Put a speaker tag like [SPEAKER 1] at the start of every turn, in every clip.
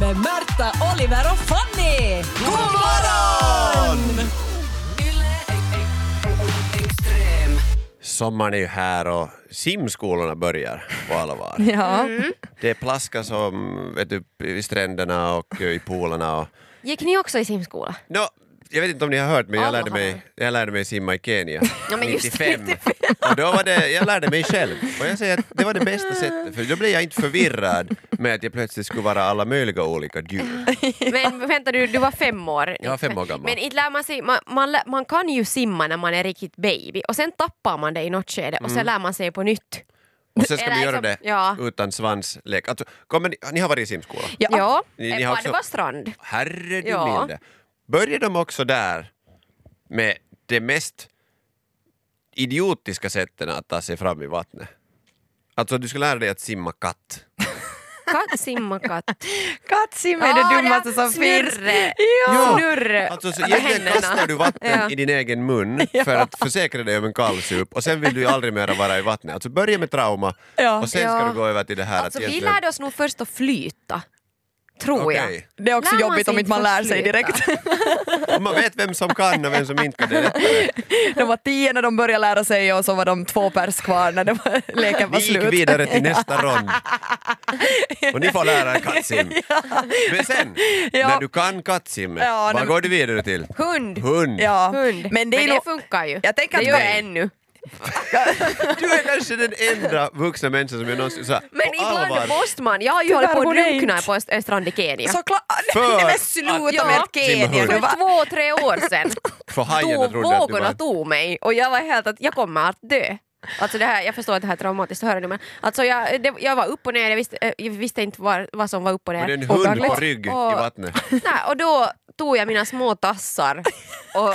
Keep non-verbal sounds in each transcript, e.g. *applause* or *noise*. [SPEAKER 1] hälsa Oliver och Fanny! God morgon!
[SPEAKER 2] Sommaren är ju här och simskolorna börjar på allvar.
[SPEAKER 3] Ja.
[SPEAKER 2] Det är plaska som vet du, i stränderna och eh, i poolerna. Och...
[SPEAKER 3] Gick ni också
[SPEAKER 2] *laughs*
[SPEAKER 3] i simskola?
[SPEAKER 2] Nå, jag vet inte om ni har hört men jag
[SPEAKER 3] Alla
[SPEAKER 2] lärde mig, jag lärde mig simma i Kenya
[SPEAKER 3] *laughs* Ja, men just det,
[SPEAKER 2] 95. Och då var det, jag lärde mig själv. Och jag säger att det var det bästa sättet för då blev jag inte förvirrad med att jag plötsligt skulle vara alla möjliga olika djur.
[SPEAKER 3] Men vänta, du, du var fem år.
[SPEAKER 2] Jag var fem år gammal.
[SPEAKER 3] Men inte lär man sig, man, man, lä- man kan ju simma när man är riktigt baby och sen tappar man det i något skede och
[SPEAKER 2] Mm.
[SPEAKER 3] sen lär man sig på nytt.
[SPEAKER 2] Och sen ska
[SPEAKER 3] Eller
[SPEAKER 2] vi göra det
[SPEAKER 3] liksom- ja.
[SPEAKER 2] utan svanslek. Alltså, kommer ni, ni har varit i simskola?
[SPEAKER 3] Ja,
[SPEAKER 2] Ni- ni
[SPEAKER 3] Eh,
[SPEAKER 2] har
[SPEAKER 3] bara
[SPEAKER 2] också-
[SPEAKER 3] det var strand.
[SPEAKER 2] Herre du
[SPEAKER 3] Ja.
[SPEAKER 2] milde. Börjar de också där med det mest idiotiska sätten att ta sig fram i vattnet? Alltså du ska lära dig att simma katt.
[SPEAKER 3] Katt, simma
[SPEAKER 2] *laughs*
[SPEAKER 3] katt.
[SPEAKER 4] Kattsim är det dummaste som finns.
[SPEAKER 3] snurre.
[SPEAKER 2] Ja.
[SPEAKER 3] Ja. Snurr.
[SPEAKER 2] Alltså så
[SPEAKER 3] med
[SPEAKER 2] egentligen
[SPEAKER 3] händerna.
[SPEAKER 2] kastar du vatten
[SPEAKER 3] Ja.
[SPEAKER 2] i din egen
[SPEAKER 3] *laughs*
[SPEAKER 2] mun för att försäkra dig om en kallsup och sen vill du ju aldrig mer vara i vattnet. Alltså börja med trauma
[SPEAKER 4] Ja.
[SPEAKER 2] och sen ska
[SPEAKER 3] Ja.
[SPEAKER 2] du gå över till det här
[SPEAKER 3] Alltså,
[SPEAKER 2] att
[SPEAKER 3] vi
[SPEAKER 2] egentligen-
[SPEAKER 3] lärde oss nog först att flyta. Tror jag.
[SPEAKER 2] Okej.
[SPEAKER 4] Det är också
[SPEAKER 3] Lär man
[SPEAKER 4] jobbigt om
[SPEAKER 3] sig
[SPEAKER 4] inte man
[SPEAKER 3] inte
[SPEAKER 4] lär sig
[SPEAKER 3] sluta?
[SPEAKER 4] direkt. *laughs*
[SPEAKER 2] Om man vet vem som kan och vem som inte kan
[SPEAKER 3] *laughs*
[SPEAKER 2] det är lättare.
[SPEAKER 4] De var tio när de började lära sig och så var de två pers kvar när
[SPEAKER 2] *laughs*
[SPEAKER 4] de leken var
[SPEAKER 2] Vi gick
[SPEAKER 4] slut. *laughs*
[SPEAKER 2] vidare
[SPEAKER 3] *laughs*
[SPEAKER 2] till nästa rond. Och ni får lära er kattsim. Men
[SPEAKER 3] *laughs*
[SPEAKER 2] sen,
[SPEAKER 4] Ja.
[SPEAKER 2] när du kan kattsim,
[SPEAKER 4] Ja,
[SPEAKER 2] vad
[SPEAKER 4] nej-
[SPEAKER 2] går du vidare till?
[SPEAKER 3] Hund.
[SPEAKER 2] Hund.
[SPEAKER 4] Ja.
[SPEAKER 3] Hund.
[SPEAKER 4] Men det är nog...
[SPEAKER 3] funkar ju.
[SPEAKER 4] Jag tänker
[SPEAKER 3] det
[SPEAKER 4] att-
[SPEAKER 3] gör jag ännu.
[SPEAKER 2] Du är kanske den enda vuxna människan som jag någonsin så här,
[SPEAKER 3] Men
[SPEAKER 2] på
[SPEAKER 3] ibland
[SPEAKER 2] allvar
[SPEAKER 3] måste man. Jag har ju hållit på att
[SPEAKER 4] borde jag
[SPEAKER 3] drunkna
[SPEAKER 4] inte.
[SPEAKER 3] på Öst- en strand i Kenya.
[SPEAKER 4] Såklart! *laughs*
[SPEAKER 2] För
[SPEAKER 4] Nej men
[SPEAKER 2] att-
[SPEAKER 4] sluta med
[SPEAKER 3] Ja.
[SPEAKER 4] ett Kenya!
[SPEAKER 2] Simhund.
[SPEAKER 4] Du
[SPEAKER 3] För
[SPEAKER 4] var-
[SPEAKER 3] två, tre år sedan.
[SPEAKER 2] *laughs* för hajarna
[SPEAKER 3] Då
[SPEAKER 2] trodde att du
[SPEAKER 3] vågorna
[SPEAKER 2] var...
[SPEAKER 3] tog mig och jag var helt att jag kommer att dö. Alltså det här, jag förstår att det här är traumatiskt att höra nu men alltså jag, det, jag var upp och ner, jag visste, eh, jag visste inte var, vad som var upp och ner.
[SPEAKER 2] Men det är en hund på
[SPEAKER 3] Och-
[SPEAKER 2] rygg i
[SPEAKER 3] och-
[SPEAKER 2] vattnet.
[SPEAKER 3] Nej, och då tog jag mina små tassar och,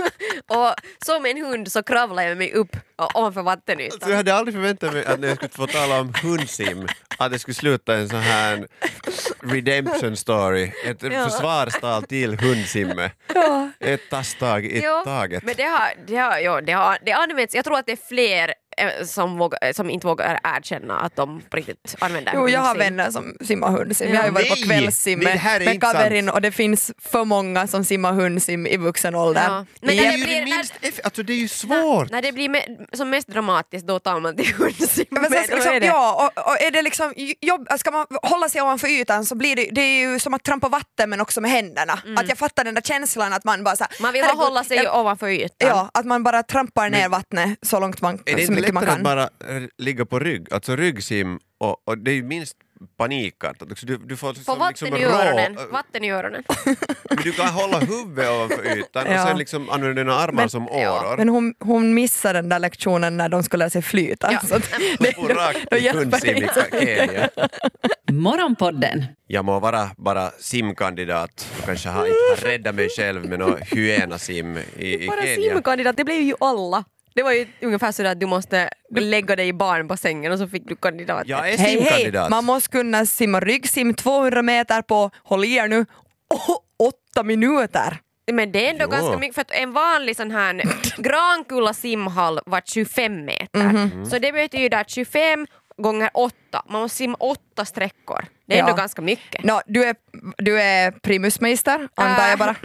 [SPEAKER 3] *laughs* och som en hund så kravlade jag mig upp och ovanför vattenytan.
[SPEAKER 2] Så jag hade aldrig förväntat mig att när jag skulle få tala om hundsim, att det skulle sluta en sån här redemption story, ett försvarstal till hundsimme. Ett tasstag i
[SPEAKER 3] Jo,
[SPEAKER 2] taget.
[SPEAKER 3] Men det har, det har, jo, det har det används, jag tror att det är fler eh, som, vågar, som inte vågar erkänna att de på riktigt använder
[SPEAKER 4] Jo, jag har
[SPEAKER 3] hundsim.
[SPEAKER 4] vänner som simmar hundsim. Jag har ju varit
[SPEAKER 2] Nej,
[SPEAKER 4] på kvällssim
[SPEAKER 2] det här är
[SPEAKER 4] med, med
[SPEAKER 2] inte sant.
[SPEAKER 4] kaverin och det finns för många som simmar hundsim i vuxen ålder.
[SPEAKER 3] Ja. Men
[SPEAKER 2] Det
[SPEAKER 3] när
[SPEAKER 2] är
[SPEAKER 3] det
[SPEAKER 2] ju
[SPEAKER 3] blir-
[SPEAKER 2] det minst eff- Alltså det är ju
[SPEAKER 3] När,
[SPEAKER 2] svårt!
[SPEAKER 3] när det blir me, som mest dramatiskt då tar man till hundsim.
[SPEAKER 4] Men sen, ska liksom,
[SPEAKER 3] vad är det?
[SPEAKER 4] ja, och, och är det liksom jobb, ska man hålla sig ovanför ytan så blir det, det är ju som att trampa vatten men också med händerna.
[SPEAKER 2] Mm.
[SPEAKER 4] Att jag fattar den där känslan att man bara så här,
[SPEAKER 3] Man vill
[SPEAKER 4] herregud,
[SPEAKER 3] hålla sig
[SPEAKER 4] jag-
[SPEAKER 3] ovanför ytan.
[SPEAKER 4] Ja, att man bara trampar ner vattnet så långt man,
[SPEAKER 2] Är det
[SPEAKER 4] så
[SPEAKER 2] inte
[SPEAKER 4] mycket man
[SPEAKER 2] lättare
[SPEAKER 4] kan.
[SPEAKER 2] att bara eh, ligga på rygg? Alltså ryggsim, och, och det är ju minst panikartat. Alltså, Du, du får
[SPEAKER 3] Få
[SPEAKER 2] liksom,
[SPEAKER 3] vatten,
[SPEAKER 2] liksom Äh,
[SPEAKER 3] i öronen. vatten i öronen.
[SPEAKER 2] Men Du kan hålla huvudet ovanför ytan och
[SPEAKER 4] *laughs* Ja.
[SPEAKER 2] sen liksom använda dina armar
[SPEAKER 4] Men-
[SPEAKER 2] som
[SPEAKER 3] ja.
[SPEAKER 2] åror. *laughs*
[SPEAKER 4] Men hon, hon missade den där lektionen när de skulle lära sig flyta.
[SPEAKER 3] Ja.
[SPEAKER 4] Så
[SPEAKER 2] *laughs*
[SPEAKER 4] att,
[SPEAKER 2] Hon får rakt
[SPEAKER 4] då
[SPEAKER 2] i
[SPEAKER 4] hjälper
[SPEAKER 2] hundsim i Kenya.
[SPEAKER 1] Morgonpodden
[SPEAKER 2] Jag må vara bara simkandidat och kanske ha, inte ha räddat mig själv med någon hyenasim i, i
[SPEAKER 3] Bara
[SPEAKER 2] Kenya.
[SPEAKER 3] simkandidat, det blev ju alla. Det var ju ungefär sådär att du måste lägga dig i barnbassängen och så fick du kandidat.
[SPEAKER 2] Jag är
[SPEAKER 4] hej, hej,
[SPEAKER 2] simkandidat.
[SPEAKER 4] man måste kunna simma ryggsim 200 meter på, håll i er nu, åh, åtta minuter.
[SPEAKER 3] Men det är ändå
[SPEAKER 2] Jo.
[SPEAKER 3] ganska mycket för att en vanlig sån *laughs* här Grankulla simhall var 25 meter.
[SPEAKER 2] Mm.
[SPEAKER 3] Så det betyder att 25 gånger 8, man måste simma 8 sträckor. Det är
[SPEAKER 4] Ja.
[SPEAKER 3] ändå ganska mycket. Ah.
[SPEAKER 4] Nå, du, är, du är primusmeister, antar jag bara.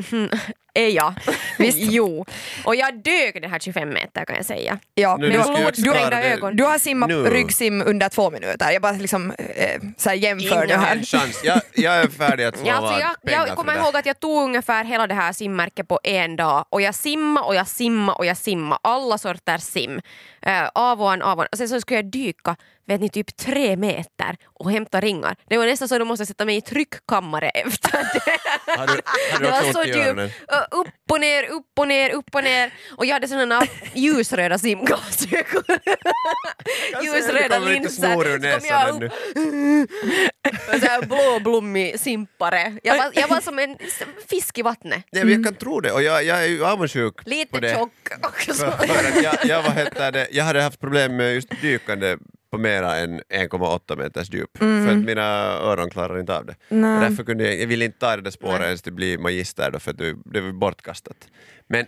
[SPEAKER 2] *laughs*
[SPEAKER 3] Är jag?
[SPEAKER 4] Visst.
[SPEAKER 3] Eh, jo. Och jag dög den här 25 meter kan jag säga.
[SPEAKER 4] Ja,
[SPEAKER 2] Nu,
[SPEAKER 4] men
[SPEAKER 2] du
[SPEAKER 4] du,
[SPEAKER 2] ska ju
[SPEAKER 4] har- du,
[SPEAKER 2] förklara
[SPEAKER 4] har-
[SPEAKER 2] det.
[SPEAKER 4] ögon. du har simmat
[SPEAKER 2] Nu.
[SPEAKER 4] ryggsim under två minuter. Jag bara liksom, eh, så här jämför det
[SPEAKER 2] Ingen
[SPEAKER 4] här.
[SPEAKER 2] chans. Jag, jag är färdig att slå
[SPEAKER 3] Ja, alltså jag,
[SPEAKER 2] pengar
[SPEAKER 3] jag
[SPEAKER 2] för
[SPEAKER 3] kommer
[SPEAKER 2] det.
[SPEAKER 3] ihåg att jag tog ungefär hela det här simmärket på en dag och jag simma och jag simma och jag simma alla sorter sim. Uh, avån, avån. Och sen så skulle jag dyka vet ni, typ tre meter och hämta ringar. Det var nästan så att de måste sätta mig i tryckkammare *laughs* efter det.
[SPEAKER 2] Har du, har du
[SPEAKER 3] Det var
[SPEAKER 2] också
[SPEAKER 3] så
[SPEAKER 2] ont i
[SPEAKER 3] djupt.
[SPEAKER 2] öronen?
[SPEAKER 3] Ö, Upp och ner, upp och ner, upp och ner. Och jag hade sådana ljusröda simglasögon. ljusröda
[SPEAKER 2] kommer lite
[SPEAKER 3] linser.
[SPEAKER 2] snor ur
[SPEAKER 3] Så kom
[SPEAKER 2] näsan
[SPEAKER 3] jag
[SPEAKER 2] ännu.
[SPEAKER 3] upp med så här blåblommig simpare. Jag var, jag var som en s- fisk i vattnet.
[SPEAKER 2] Nej, men jag kan tro det och jag, jag är ju avundsjuk på
[SPEAKER 3] Mm. Lite
[SPEAKER 2] det. *laughs*
[SPEAKER 3] tjock också.
[SPEAKER 2] För, för att jag, jag, var, hette det, jag hade haft problem med just dykande på mera än 1,8 meters djup för
[SPEAKER 3] Mm.
[SPEAKER 2] att mina öron klarar inte av det.
[SPEAKER 4] Nej.
[SPEAKER 2] Och därför kunde jag, jag ville inte ta det där spåret ens till bli magister då, för att det, det var bortkastat. Men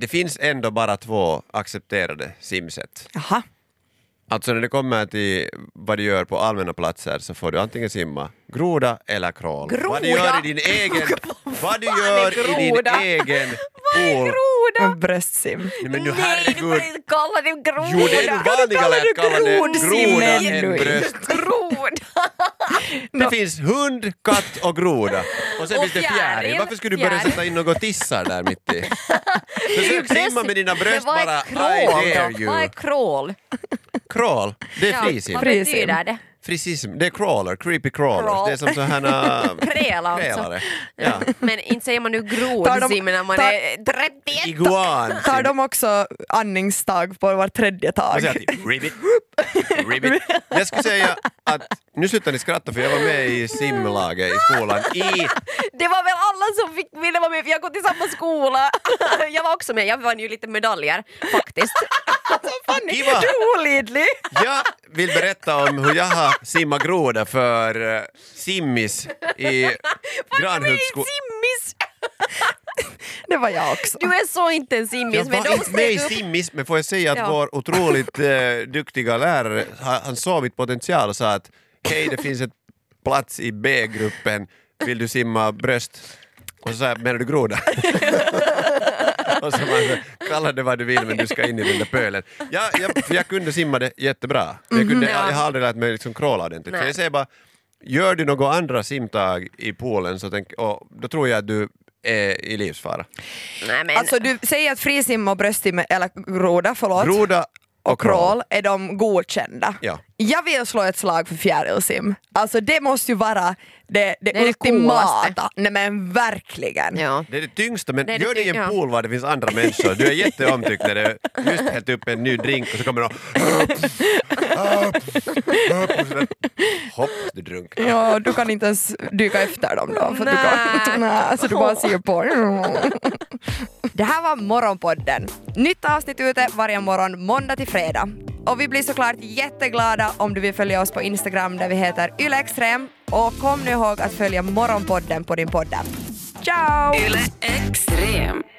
[SPEAKER 2] det finns ändå bara två accepterade simsätt.
[SPEAKER 4] Jaha.
[SPEAKER 2] Alltså när det kommer till vad du gör på allmänna platser så får du antingen simma Groda eller krål? Vad du
[SPEAKER 3] Groda?
[SPEAKER 2] gör i din egen...
[SPEAKER 3] *laughs*
[SPEAKER 2] vad du
[SPEAKER 3] fan är
[SPEAKER 2] gör i din
[SPEAKER 3] groda?
[SPEAKER 2] egen
[SPEAKER 3] *laughs* Vad är
[SPEAKER 2] pool.
[SPEAKER 3] groda?
[SPEAKER 4] En bröstsim.
[SPEAKER 2] Nej, men nu
[SPEAKER 3] Oh, Nej, du får
[SPEAKER 2] herregud.
[SPEAKER 3] inte kalla det groda!
[SPEAKER 2] Jo, det är nog vanligare att kalla det groda
[SPEAKER 4] grodsimmen
[SPEAKER 2] än
[SPEAKER 4] nu.
[SPEAKER 2] bröst.
[SPEAKER 3] Groda!
[SPEAKER 2] Det finns hund, katt och groda. Och sen
[SPEAKER 3] Och
[SPEAKER 2] finns det fjäril.
[SPEAKER 3] fjäril.
[SPEAKER 2] Varför skulle du börja
[SPEAKER 3] Fjäril.
[SPEAKER 2] sätta in något tissar där mitt
[SPEAKER 3] *laughs*
[SPEAKER 2] i? Försök
[SPEAKER 3] Bröst-
[SPEAKER 2] simma med dina
[SPEAKER 3] Men
[SPEAKER 2] bröst
[SPEAKER 3] vad är
[SPEAKER 2] bara. I
[SPEAKER 3] crawl
[SPEAKER 2] dare
[SPEAKER 3] då? Vad
[SPEAKER 2] you.
[SPEAKER 3] är crawl?
[SPEAKER 2] Crawl. Det
[SPEAKER 3] Ja,
[SPEAKER 2] är frisim.
[SPEAKER 3] Vad
[SPEAKER 4] Frisim.
[SPEAKER 3] betyder det?
[SPEAKER 2] Frisism. Det är crawler. Creepy crawlers.
[SPEAKER 3] Crawl.
[SPEAKER 2] Det är som så här... äh,
[SPEAKER 3] Kräla alltså.
[SPEAKER 2] Krälare. Ja.
[SPEAKER 3] *laughs* Men inte säger man nu
[SPEAKER 4] Tar de-
[SPEAKER 3] grodsim när man
[SPEAKER 4] tar-
[SPEAKER 3] är 31.
[SPEAKER 2] Iguan. typ.
[SPEAKER 4] Tar de också andningstag på var tredje
[SPEAKER 2] Jag
[SPEAKER 4] tag?
[SPEAKER 2] säger alltid ribbit, ribbit. Jag skulle säga att, nu slutar ni skratta för jag var med i simlaget i skolan i
[SPEAKER 3] *laughs* Det var väl alla som fick, ville vara med för jag går till samma skola. *laughs* Jag var också med, jag vann ju lite medaljer faktiskt.
[SPEAKER 4] Fanny, *laughs*
[SPEAKER 2] Kiva.
[SPEAKER 4] du är olidlig!
[SPEAKER 2] Jag vill berätta om hur jag har simmat groda för eh, simmis i Granhultsskolan.
[SPEAKER 3] Simmis!
[SPEAKER 4] Det var jag också.
[SPEAKER 3] Du är så inte en simmis.
[SPEAKER 2] Jag
[SPEAKER 3] men
[SPEAKER 2] var
[SPEAKER 3] de
[SPEAKER 2] inte med i
[SPEAKER 3] steg upp.
[SPEAKER 2] simmis, men får jag säga att
[SPEAKER 3] Ja.
[SPEAKER 2] vår otroligt eh, duktiga lärare, han, han såg mitt potential och sa att hej, det finns ett plats i B-gruppen, vill du simma bröst? Och så sa jag, menar du groda? *laughs* och så man, så, kalla det vad du vill men du ska in i den där pölen. Jag, jag, för jag kunde simma det jättebra. Jag, kunde, jag, jag har aldrig lärt mig liksom crawla ordentligt. Så
[SPEAKER 3] Nej.
[SPEAKER 2] jag säger bara, gör du några andra simtag i poolen så tänk, och då tror jag att du är i livsfara.
[SPEAKER 3] Nej, men,
[SPEAKER 4] Alltså du säger att frisim och bröstsim, eller groda, förlåt,
[SPEAKER 2] Groda
[SPEAKER 4] och
[SPEAKER 2] och crawl.
[SPEAKER 4] crawl är de godkända.
[SPEAKER 2] Ja.
[SPEAKER 4] Jag vill slå ett slag för fjärilsim. Alltså det måste ju vara det, det,
[SPEAKER 3] Det är det
[SPEAKER 4] ultimata.
[SPEAKER 3] coolaste.
[SPEAKER 4] Nej men verkligen.
[SPEAKER 3] ja.
[SPEAKER 2] Det är det tyngsta, men
[SPEAKER 3] Det är det
[SPEAKER 2] gör det i en
[SPEAKER 3] tyng- ja.
[SPEAKER 2] pool var det finns andra människor. Du är jätteomtyckt när det just hällt upp en ny drink och så kommer de... och så där, Hopp, du drunknar.
[SPEAKER 4] Ja, du kan inte ens dyka efter dem då. För du
[SPEAKER 3] Nä.
[SPEAKER 4] kan, *laughs* nä, så du bara ser på. *laughs* Det här var Morgonpodden. Nytt avsnitt ute varje morgon måndag till fredag. Och vi blir såklart jätteglada om du vill följa oss på Instagram där vi heter ylextrem. Och kom nu ihåg att följa Morgonpodden på din podd. Ciao!
[SPEAKER 1] Yle Extrem.